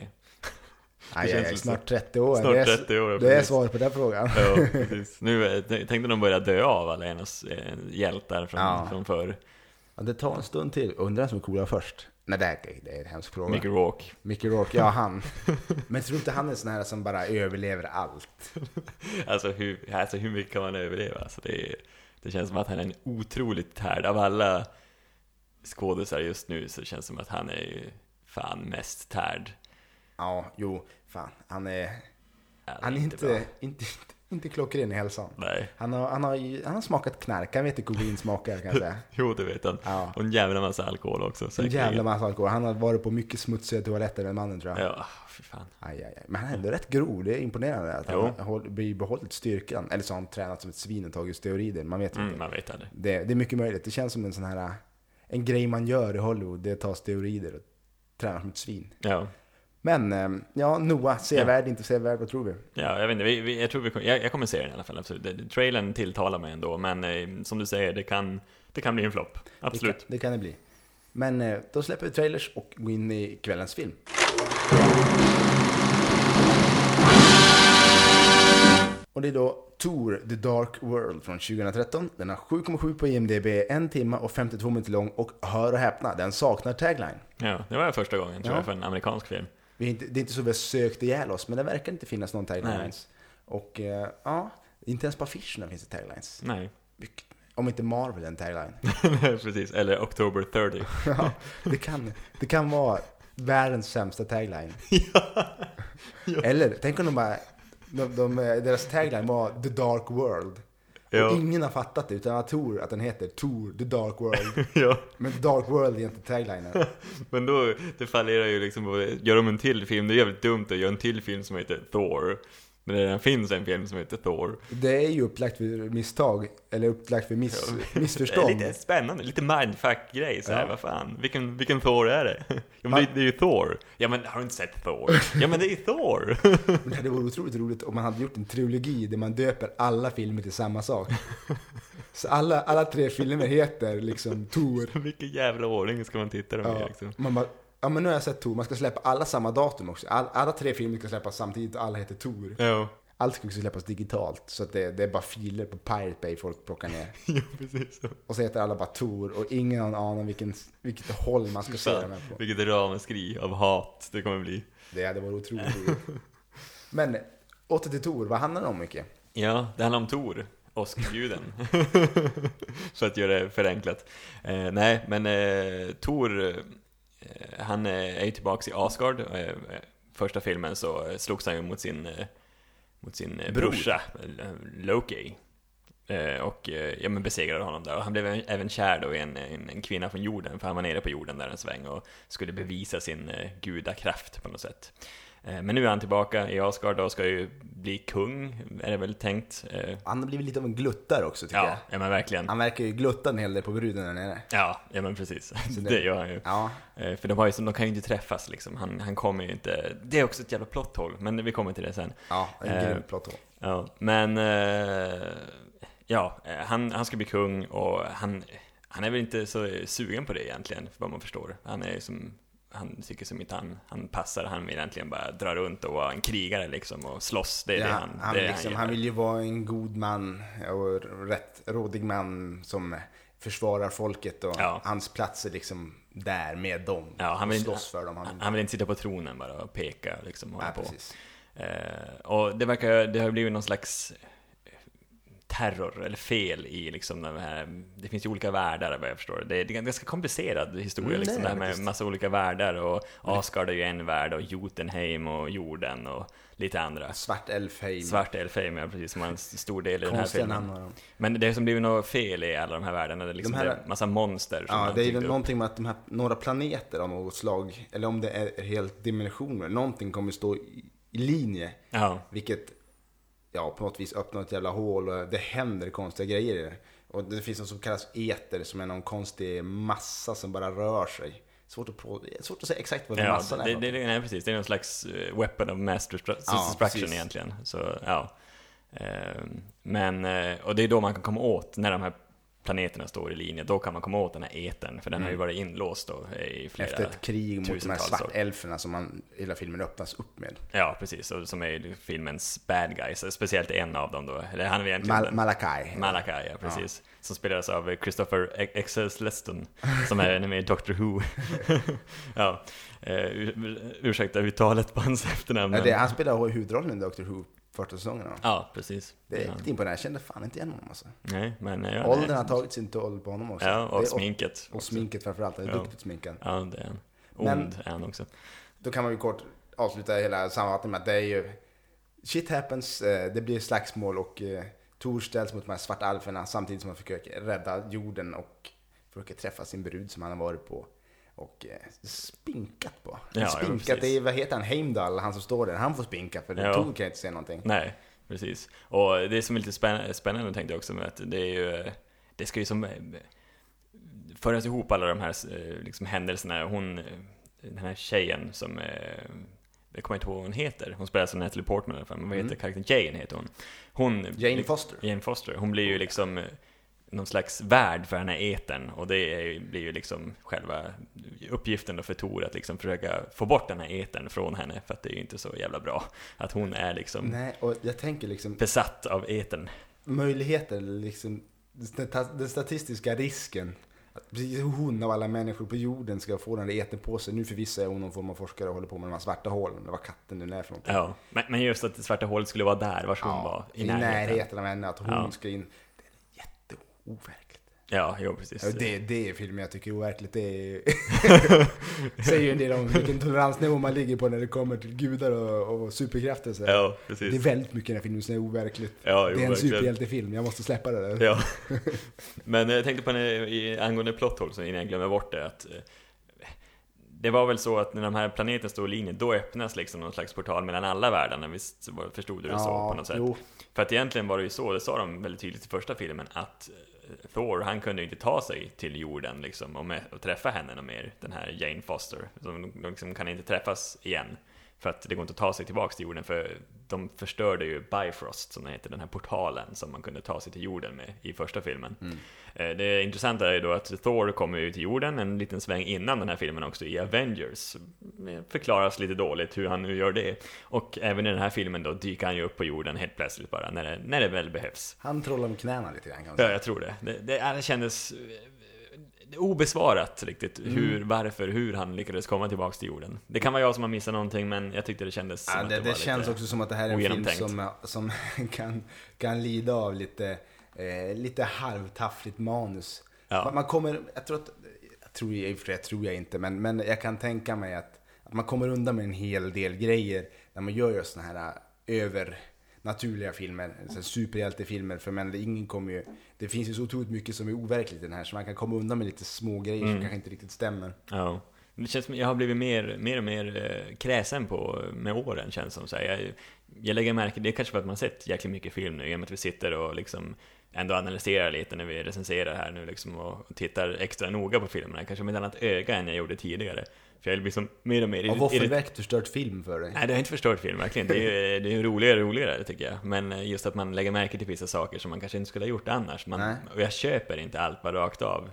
S1: Aj, aj,
S2: känns
S1: aj,
S2: så.
S1: snart 30 år.
S2: Snart
S1: det är,
S2: 30 år,
S1: det är
S2: precis.
S1: svar på den frågan.
S2: Ja, precis. Nu eh, t- tänkte de börja dö av alla hennes eh, hjältar från,
S1: Ja.
S2: från förr.
S1: Ja, det tar en stund till. Undrar vem som coolar först. Nej, det är, det är en hemsk fråga.
S2: Mickey Rourke.
S1: Mickey Rourke, ja han. Men tror inte han är en sån här som bara överlever allt?
S2: Alltså hur, alltså hur mycket kan man överleva? Alltså det, är, det känns som att han är en otroligt tärd. Av alla skådisar just nu så känns det som att han är ju fan mest tärd.
S1: Ja, jo, fan. Han är,
S2: Ja, det
S1: han är
S2: bra.
S1: inte, inte, inte klockren i hälsan.
S2: Nej.
S1: Han har, han, har, ju- han har smakat knark, han vet hur kokain smakar kan jag säga.
S2: Jo, det vet han.
S1: Ja.
S2: Och en jävla massa alkohol också.
S1: En
S2: säkerligen.
S1: jävla massa alkohol. Han har varit på mycket smutsiga toaletter den mannen tror jag.
S2: Ja, fy fan.
S1: Aj, aj, aj. Men han är ändå rätt grov, det är imponerande att
S2: Jo.
S1: han har behållit styrkan. Eller så har han tränat som ett svin och tagit steroider, man vet
S2: Mm,
S1: inte.
S2: man vet aldrig.
S1: Det, det är mycket möjligt, det känns som en sån här, en grej man gör i Hollywood, det är att ta steroider och träna som ett svin.
S2: Ja.
S1: Men, eh, ja, Noah, sevärd, inte sevärd, vad tror vi?
S2: Ja, jag vet inte, vi, vi, jag tror vi kommer, jag, jag kommer se den i alla fall, absolut. Det- det- Trailern tilltalar mig ändå, men eh, som du säger, det kan, det kan bli en flopp.
S1: Det
S2: Absolut.
S1: kan det, kan det bli. Men eh, då släpper vi trailers och går in i kvällens film. Och det är då Tour The Dark World från 2013. Den har 7,7 på IMDB, en timme och 52 minuter lång och hör och häpna, den saknar tagline.
S2: Ja, det var första gången, tror
S1: Ja.
S2: jag, för en amerikansk film.
S1: Vi är inte, det är inte så vi har sökt ihjäl oss, men det verkar inte finnas någon tagline
S2: Nej.
S1: ens. Och eh, ja, inte ens på affischerna finns det taglines.
S2: Nej,
S1: Mycket- Om inte Marvel är en tagline.
S2: Nej, precis. Eller October 30.
S1: Ja, det, kan, det kan vara världens sämsta tagline. Eller, tänk om de bara... De, de, eh, deras tagline var The Dark World.
S2: Ja.
S1: Och ingen har fattat det, utan jag tror att den heter Tour The Dark World.
S2: ja,
S1: Men The Dark World är inte taglinen.
S2: men då, det fallerar ju liksom, på- gör de en till film, det är jävligt dumt att göra en till film som heter Thor. När det redan finns en film som heter Thor.
S1: Det är ju upplagt för misstag, eller upplagt för miss,
S2: Det är
S1: missförstånd.
S2: Eh, lite spännande, lite mindfuck-grej så här,
S1: Ja.
S2: vad fan. Vilken, vilken Thor är det? Ja, men
S1: Va?
S2: det, det är ju Thor. Ja, men har du inte sett Thor? Ja, men det är ju Thor.
S1: Men det vore otroligt roligt om man hade gjort en trilogi där man döper alla filmer till samma sak. Så alla, alla tre filmer heter liksom Tour.
S2: Vilken jävla ordning ska man titta dem i
S1: Ja,
S2: liksom?
S1: man bara, ja men nu har jag sett Tor, man ska släppa alla samma datum också. All, alla tre filmer ska släppas samtidigt och alla heter Tor.
S2: Ja,
S1: Allt ska också släppas digitalt, så att det, det är bara filer på Pirate Bay folk plockar ner.
S2: ja precis.
S1: Och så heter alla bara Tor och ingen har en aning om vilken, vilket håll man ska se dem här på.
S2: Vilket ramaskri av hat det kommer bli.
S1: Det hade varit otroligt roligt. Men åter till Tor, vad handlar det om mycket?
S2: Ja, det handlar om Tor, åskguden. För att göra det förenklat. Eh, nej, men eh, Tor, eh, han eh, är ju tillbaka i Asgard. Eh, första filmen så eh, slogs han ju mot sin, eh, mot sin eh,
S1: Bror.
S2: brorsa, eh, Loki. Eh, och eh, ja, men besegrade honom där. Och han blev även- även kär då i en, en, en kvinna från jorden, för han var nere på jorden där en sväng och skulle bevisa sin eh, gudakraft på något sätt. Eh, men nu är han tillbaka i Asgard och ska ju bli kung, är det väl tänkt. Eh,
S1: Han har blivit lite av en gluttare också tycker jag.
S2: ja, ja, men verkligen.
S1: Han verkar ju glutta en hel del på bruden där nere.
S2: Ja, ja men precis.
S1: det-
S2: Det gör han ju.
S1: Ja,
S2: Eh, För de, har ju, de kan ju inte träffas liksom. Han, han kommer ju inte. Det är också ett jävla plotthål, men vi kommer till det sen.
S1: ja en
S2: Eh,
S1: grym platå.
S2: Ja, men eh, ja, eh, han, han ska bli kung och han, han är väl inte så sugen på det egentligen, för vad man förstår. Han är ju som, han tycker som inte han, han passar, han vill egentligen bara dra runt och vara en krigare liksom och slåss, det är
S1: Ja,
S2: det han,
S1: han,
S2: det är det
S1: liksom,
S2: gör.
S1: han, vill ju vara en god man och rätt rådig man som försvarar folket och
S2: Ja.
S1: hans plats är liksom där med dem.
S2: Ja, han vill,
S1: och slåss för dem. Han vill,
S2: han vill inte sitta på tronen bara och peka och liksom hålla
S1: nej,
S2: på.
S1: precis.
S2: Eh, och det verkar, det har blivit någon slags eh, terror eller fel i liksom de här, det finns ju olika världar vad jag förstår. Det är, det är en ganska komplicerad historia
S1: Mm, det
S2: liksom,
S1: är
S2: det
S1: det
S2: här med
S1: faktiskt. Mm.
S2: massa olika världar och Asgard är ju en värld och Jotunheim och jorden och lite andra.
S1: Svart Elfheim.
S2: Svart Elfheim, ja precis, som var en stor del i den här
S1: Konstiga
S2: filmen.
S1: namn har de.
S2: Men det har som blivit något fel i alla de här världarna, det är liksom
S1: De här-
S2: det är massa monster som
S1: Ja,
S2: man
S1: det är
S2: tyckte
S1: ju
S2: upp.
S1: någonting med att de här, några planeter av något slag, eller om det är helt dimensioner, någonting kommer stå i, i linje.
S2: Ja,
S1: Vilket ja, på något vis öppnar ett jävla hål och det händer konstiga grejer i det. Och det finns något som kallas eter som är någon konstig massa som bara rör sig. Svårt att, på, svårt att säga exakt vad den
S2: ja
S1: massan
S2: det,
S1: är.
S2: det, det, nej, precis. Det är någon slags eh, weapon of mass distra-
S1: Ja,
S2: destruction
S1: precis.
S2: egentligen. Ehm, Så, ja. Eh, Men, eh, och det är då man kan komma åt när de här planeterna står i linje, då kan man komma åt den här etern, för den
S1: Mm.
S2: har ju varit inlåst då i flera
S1: Efter ett krig mot de här
S2: tusentals år.
S1: svartelferna som man, hela filmen öppnas upp med.
S2: Ja, precis, och som är ju filmens bad guys, speciellt en av dem då, eller han är väl egentligen
S1: Mal-
S2: den-
S1: Malakai.
S2: Malakai, ja precis. Som spelades av Christopher E- Exelsleston, som är med i Doctor Who. ja, eh, ur, ursäkta uttalet på hans efternamn.
S1: Ja,
S2: men-
S1: det, han spelar huvudrollen i Doctor Who första säsongen. då.
S2: Ja, precis.
S1: Det är
S2: Ja.
S1: riktigt imponerande. Jag kände fan inte igen honom alltså.
S2: Nej, men... eh, Ja, nej.
S1: Åldern har tagit sin toll på honom också.
S2: Ja, och
S1: Det är-
S2: sminket.
S1: Och sminket framförallt. Han är
S2: Ja.
S1: duktigt sminkad.
S2: Ja, det är han.
S1: Men-
S2: Ond är han också.
S1: Då kan man ju kort avsluta hela sammanfattningen med att det är ju... Shit happens, eh, det blir slagsmål och eh, Tor ställs mot de här svartalferna samtidigt som han försöker rädda jorden och försöker träffa sin brud som han har varit på och eh, spinkat på.
S2: Ja, ja,
S1: spinkat,
S2: precis.
S1: det är, vad heter han, Heimdall, han som står där, han får spinka för
S2: Ja.
S1: Tor kan inte säga någonting.
S2: Nej, precis. Och det som är lite spänn- spännande tänkte jag också med att det är ju, eh, det ska ju som eh, föras ihop alla de här eh, liksom, händelserna. Hon, eh, den här tjejen som, eh, jag kommer inte ihåg vad hon heter, hon spelar som Natalie Portman i alla fall, men vad heter karaktären? Jane heter hon. hon
S1: Mm. Jane Foster.
S2: Jane Foster, hon blir ju liksom eh, någon slags värd för den här etern och det är ju- blir ju liksom själva uppgiften då för Tor att liksom försöka få bort den här etern från henne för att det är ju inte så jävla bra att hon är liksom
S1: Nej, och jag tänker liksom
S2: besatt av etern.
S1: möjligheter, liksom stata- den statistiska risken. Att precis hon av alla människor på jorden ska få den där eten på sig. Nu förvisso är hon någon form av forskare och håller på med de här svarta hålen. Det var katten nu är för någonting.
S2: Ja. Men, men just att det svarta hålet skulle vara där, vars hon var,
S1: I närheten av henne, att hon
S2: Ja.
S1: ska in. Det är jätteoverkligt.
S2: Ja, jo
S1: Ja,
S2: precis.
S1: det, det är filmen jag tycker är overkligt. Det är... säger ju en del om vilken toleransnivå man ligger på när det kommer till gudar och, och superkrafter. Så.
S2: Ja,
S1: Det är
S2: precis.
S1: väldigt mycket i den här filmen som är overkligt.
S2: Ja, jo,
S1: det är en
S2: verkligen.
S1: superhjältefilm, jag måste släppa det där.
S2: Ja. Men jag tänkte på en, i, angående plot holes, innan jag glömmer bort det, att eh, det var väl så att när de här planeterna står i linje, då öppnas liksom någon slags portal mellan alla världarna, visst var- förstod du det så på något sätt?
S1: jo.
S2: För att egentligen var det ju så, det sa de väldigt tydligt i första filmen, att eh, Thor, han kunde ju inte ta sig till jorden liksom och, med, och träffa henne någon mer, den här Jane Foster. De, de liksom kan inte träffas igen, för att det går inte att ta sig tillbaka till jorden, för de förstörde ju Bifrost, som den heter, den här portalen som man kunde ta sig till jorden med i första filmen.
S1: Mm.
S2: Eh, Det intressanta är ju då att Thor kommer ju till jorden en liten sväng innan den här filmen också i Avengers. Det Förklaras lite dåligt hur han nu gör det. Och även i den här filmen då dyker han ju upp på jorden helt plötsligt bara när det, när det väl behövs.
S1: Han trollar med knäna lite grann kan man
S2: Ja,
S1: säga.
S2: jag tror det. Det, det, ja, det kändes eh, obesvarat riktigt
S1: Mm.
S2: hur, varför, hur han lyckades komma tillbaka till jorden. Det kan vara jag som har missat någonting men jag tyckte det kändes som
S1: Ja,
S2: att
S1: det, det
S2: var
S1: känns
S2: lite...
S1: också som att det här är en film
S2: ogenomtänkt.
S1: som, eh, som kan, kan lida av lite, eh, lite halvtaffligt manus.
S2: Ja.
S1: Man, man kommer, jag tror att, jag tror, i och för sig, jag tror jag inte, men, men jag kan tänka mig att, att man kommer undan med en hel del grejer när man gör just sådana här eh, övernaturliga filmer, så här superhjältefilmer, för men ingen kommer ju, det finns ju så otroligt mycket som är overkligt i den här, så man kan komma undan med lite små grejer
S2: Mm.
S1: som kanske inte riktigt stämmer.
S2: Ja. Men Det känns som jag har blivit mer, mer och mer eh, kräsen på, med åren känns som. Så här. Jag, jag lägger märke, det är kanske för att man sett jäkligt mycket film nu, i och med att vi sitter och liksom ändå analyserar lite när vi recenserar här nu liksom och tittar extra noga på filmerna, kanske med ett annat öga än jag gjorde tidigare. För jag blir som mer och mer
S1: Har
S2: irri-
S1: Våffelverk förstört film för dig?
S2: Nej, det har inte förstört film verkligen. Det är ju det är ju roligare och roligare tycker jag. Men eh, just att man lägger märke till vissa saker som man kanske inte skulle ha gjort annars. Man,
S1: Nej.
S2: och jag köper inte allt bara rakt av.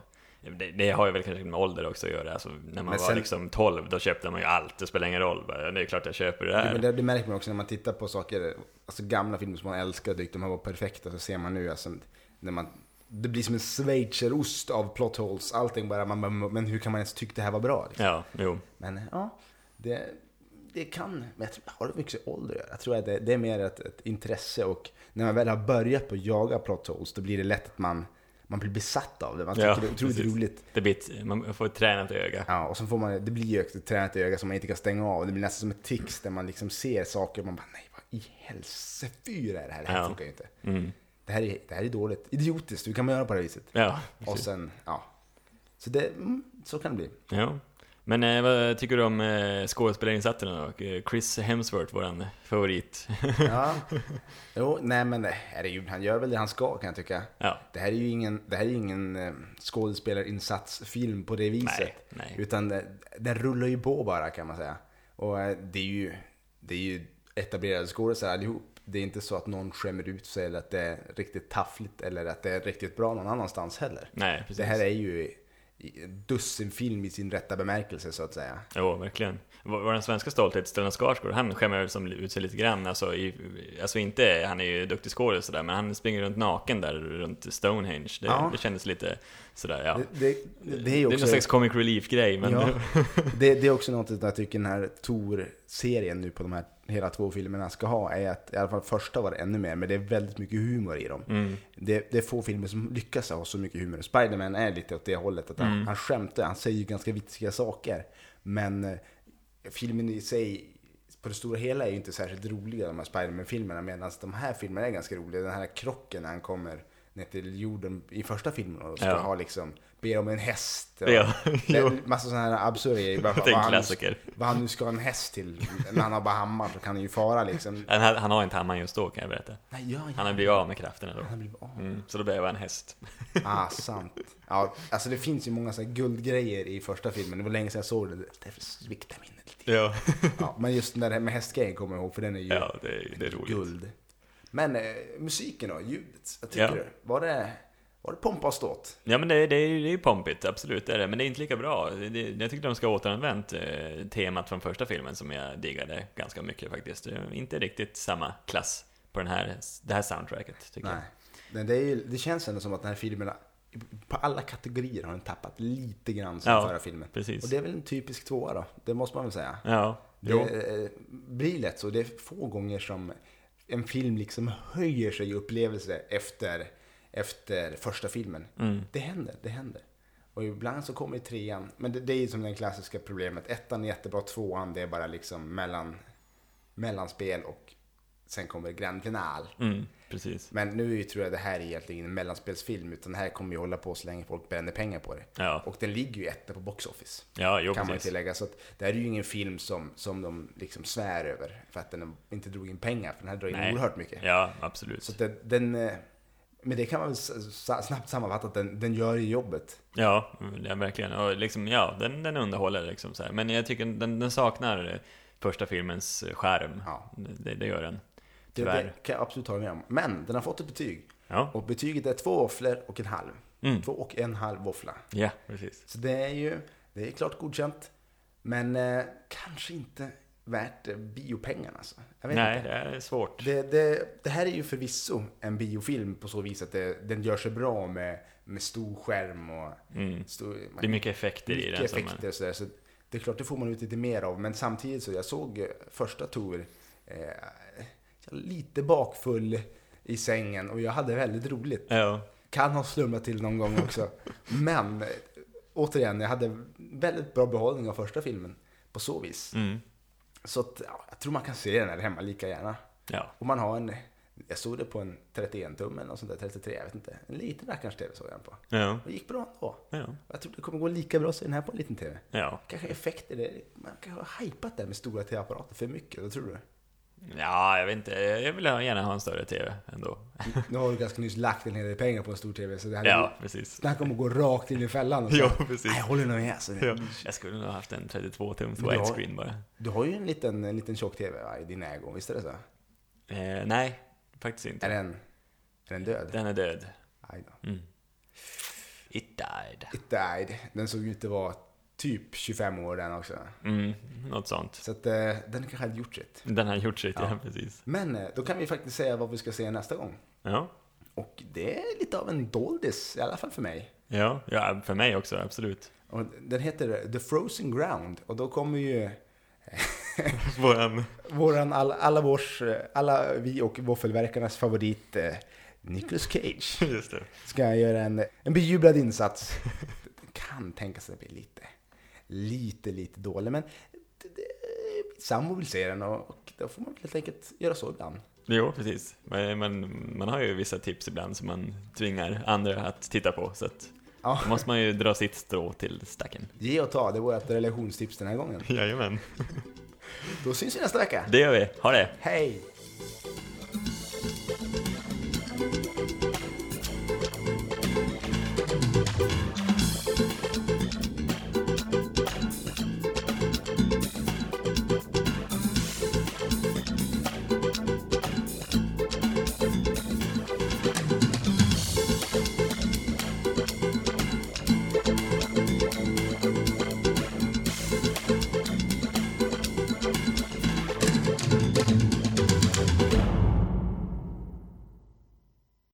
S2: Det, det har ju väl kanske med ålder också att göra. Alltså, när
S1: Men
S2: man var
S1: sen-
S2: liksom 12, då köpte man ju allt. Det spelar ingen roll. Bara, det är klart jag köper det
S1: Ja,
S2: här.
S1: men det, det märker man också när man tittar på saker, alltså gamla filmer som man älskar och tyckte de här var perfekta, så ser man nu alltså, när man, det blir som en schweizerost av plot holes, allting bara, man, bara, men hur kan man ens tycka det här var bra? Liksom.
S2: Ja, jo.
S1: Men ja, det, det kan, men jag tror, har det mycket med ålder att göra? Jag tror att det, det är mer ett, ett intresse och när man väl har börjat på att jaga plot holes, då blir det lätt att man, man blir besatt av det, man tycker
S2: Ja,
S1: det är otroligt
S2: precis.
S1: roligt.
S2: Det blir ett, man får träna ett öga.
S1: Ja, och så får man, det blir ju ett tränat öga som man inte kan stänga av. Det blir nästan som ett tics där man liksom ser saker och man bara nej, vad i helsefyra är det här? Det här
S2: Ja. Mm.
S1: funkar ju inte. Det, här är, det här är dåligt. Idiotiskt, hur kan man göra på det här viset?
S2: Ja,
S1: Och
S2: precis.
S1: sen, ja. Så det, mm, så kan det bli.
S2: Ja. Men eh, vad tycker du om eh, skådespelarinsatserna då? Eh, Chris Hemsworth, våran favorit.
S1: Ja. Jo, nej men eh, herregud, han gör väl det han ska kan jag tycka.
S2: ja.
S1: Det här är ju ingen, det här är ju ingen eh, skådespelarinsatsfilm på det viset.
S2: Nej, nej.
S1: Utan eh, den rullar ju på bara kan man säga. Och eh, det är ju, det är ju etablerade skådespelare allihop. det är inte så att någon skämmer ut sig eller att det är riktigt taffligt eller att det är riktigt bra någon annanstans heller.
S2: Nej, precis.
S1: Det här är ju dussinfilm i sin rätta bemärkelse så att säga.
S2: Jo, verkligen. Vår vår svenska stolthet, Stellan Skarsgård, han skämmer väl som ut sig lite grann. Alltså, i, alltså inte, han är ju duktig skådespelare och sådär, men han springer runt naken där runt Stonehenge. Det,
S1: Ja.
S2: det kändes lite sådär, ja.
S1: Det, det, det är ju
S2: någon
S1: också...
S2: slags comic relief-grej, men...
S1: Ja, det, det är också något som jag tycker den här Tor-serien nu på de här hela två filmerna ska ha. Är att, I alla fall första var det ännu mer, men det är väldigt mycket humor i dem. Det, det är få filmer som lyckas ha så mycket humor. Spiderman är lite åt det hållet. Att han, han skämtar, han säger ju ganska vitsiga saker. Men eh, filmen i sig på det stora hela är ju inte särskilt roliga de här Spiderman-filmerna. Medan de här filmerna är ganska roliga. Den här krocken när han kommer ner till jorden i första filmen och ska
S2: Ja.
S1: ha liksom, ber om en häst. och-
S2: Ja,
S1: det
S2: jo.
S1: är massa sådana här absurda grejer. Bara,
S2: Det är en
S1: vad han-
S2: klassiker.
S1: Vad han nu ska ha en häst till. När han har bara hammar så kan han ju fara liksom.
S2: Han, han har inte hammaren just då, kan jag berätta.
S1: Nej, ja, ja.
S2: Han har blivit av med krafterna då.
S1: Han blir av.
S2: Mm, så då behöver han en häst.
S1: Ah, sant. Ja, alltså det finns ju många så här guldgrejer i första filmen. Det var länge sedan jag såg det. Därför sviktar minnet lite.
S2: Ja,
S1: Ja, men just den där med hästgrejen kommer jag ihåg, för den är ju
S2: ja det, är- det är roligt.
S1: guld. Men eh, musiken då, ljudet. Vad tycker
S2: Ja.
S1: du? Var det, var det pompa och ståt?
S2: Ja men det, det, är- det är ju pompigt, absolut det är det. Men det är inte lika bra. Det, det, jag tycker de ska ha återanvänt eh, temat från första filmen som jag diggade ganska mycket faktiskt. Det är inte riktigt samma klass på den här, det här soundtracket tycker
S1: Nej. Men det, är ju, det känns ändå som att den här filmen på alla kategorier har den tappat lite grann som
S2: Ja,
S1: förra filmen.
S2: precis.
S1: Och det är väl en typisk tvåa då, det måste man väl säga.
S2: jag. Ja,
S1: Det
S2: jo.
S1: eh, blir lätt så. Det är få gånger som en film liksom höjer sig i upplevelse efter, efter första filmen.
S2: Mm.
S1: Det händer, det händer. Och ibland så kommer trean. Men det, det är ju som det klassiska problemet. Ettan är jättebra, tvåan det är bara liksom mellan, mellanspel och sen kommer grand final.
S2: Mm, precis.
S1: Men nu tror jag det här är egentligen ingen mellanspelsfilm, utan det här kommer ju hålla på så länge folk bränner pengar på det.
S2: Ja.
S1: Och den ligger ju etta på Box Office.
S2: Ja, jo
S1: kan man ju
S2: precis.
S1: tillägga. Så att det här är ju ingen film som, som de liksom svär över, för att den inte drog in pengar, för den här drar in
S2: Nej.
S1: oerhört mycket.
S2: Ja, absolut.
S1: Så att den, den, eh, men det kan man väl s- s- snabbt sammanfatta, att den, den gör ju jobbet.
S2: Ja, ja verkligen. Och liksom, ja, den, den underhåller liksom så här. Men jag tycker den, den saknar eh, första filmens eh, skärm.
S1: Ja.
S2: Det, det gör den.
S1: Det,
S2: Tyvärr.
S1: det kan jag absolut hålla med om. Men den har fått ett betyg.
S2: Ja.
S1: Och betyget är två våfflor och en halv.
S2: Mm.
S1: Två och en halv våffla.
S2: ja, precis.
S1: Så det är ju det är klart godkänt. Men eh, kanske inte värt eh, biopengarna. Alltså. Jag vet
S2: Nej,
S1: inte.
S2: det är svårt.
S1: Det, det, det här är ju förvisso en biofilm på så vis att det, den gör sig bra med, med stor skärm och stor,
S2: Mm. Det är mycket effekter i
S1: mycket
S2: den. som man-
S1: effekter och sådär. Så det är klart, det får man ut lite mer av. Men samtidigt så, jag såg eh, första Tor eh, jag var lite bakfull i sängen och jag hade väldigt roligt.
S2: Ja,
S1: Kan ha slumrat till någon gång också. Men eh, återigen, jag hade väldigt bra behållning av första filmen på så vis.
S2: mm.
S1: Så att, ja, jag tror man kan se den här hemma lika gärna.
S2: ja.
S1: Och man har en, jag såg det på en 31 tum eller något sånt där, 33, jag vet inte. En liten rackarns TV såg jag den på.
S2: Ja,
S1: Det gick bra ändå.
S2: ja,
S1: Jag tror det kommer gå lika bra att se den här på en liten TV.
S2: ja.
S1: Kanske effekter, det- man kanske har hypat det med stora TV-apparater för mycket, vad tror du?
S2: Ja, jag vet inte. Jag vill ha- gärna ha en större TV ändå.
S1: Nu har du ganska nyss lagt en hel del pengar på en stor TV, så det här,
S2: Ja, precis.
S1: det här kommer gå rakt in i fällan. och så-
S2: Ja, precis.
S1: Nej, jag håller nog med. Alltså.
S2: Ja. Jag skulle nog ha haft en 32-tums
S1: Men du har-
S2: widescreen bara.
S1: Du har ju en liten, en liten tjock-TV va, i din ägo, visst är det så?
S2: Eh, nej, faktiskt
S1: Är
S2: inte.
S1: den, är den död?
S2: Den är död.
S1: Aj då.
S2: Mm. It died.
S1: It died. Den såg ut att vara typ 25 år den också.
S2: Mm, något sånt.
S1: Så att, eh, den kanske hade gjort sitt.
S2: Den har gjort sitt, ja. precis.
S1: Men eh, då kan vi faktiskt säga vad vi ska se nästa gång.
S2: Ja.
S1: Och det är lite av en doldis, i alla fall för mig.
S2: Ja, ja, för mig också, absolut.
S1: Och den heter The Frozen Ground och då kommer ju eh,
S2: Våran...
S1: våran, all, alla, vårs, eh, alla vi och våffelverkarnas favorit eh, Nicolas Cage
S2: Just det.
S1: ska göra en, en bejublad insats. Den kan tänka sig att bli lite, lite, lite dålig men det, det, min sambo vill se den och, och då får man helt enkelt göra så ibland.
S2: Jo, precis. Men man, man har ju vissa tips ibland som man tvingar andra att titta på, så att...
S1: Ja.
S2: Då måste man ju dra sitt strå till stacken.
S1: Ge och ta, det är vårt relationstips den här gången.
S2: Jajamän.
S1: Då syns vi nästa vecka.
S2: Det gör vi. Ha det!
S1: Hej!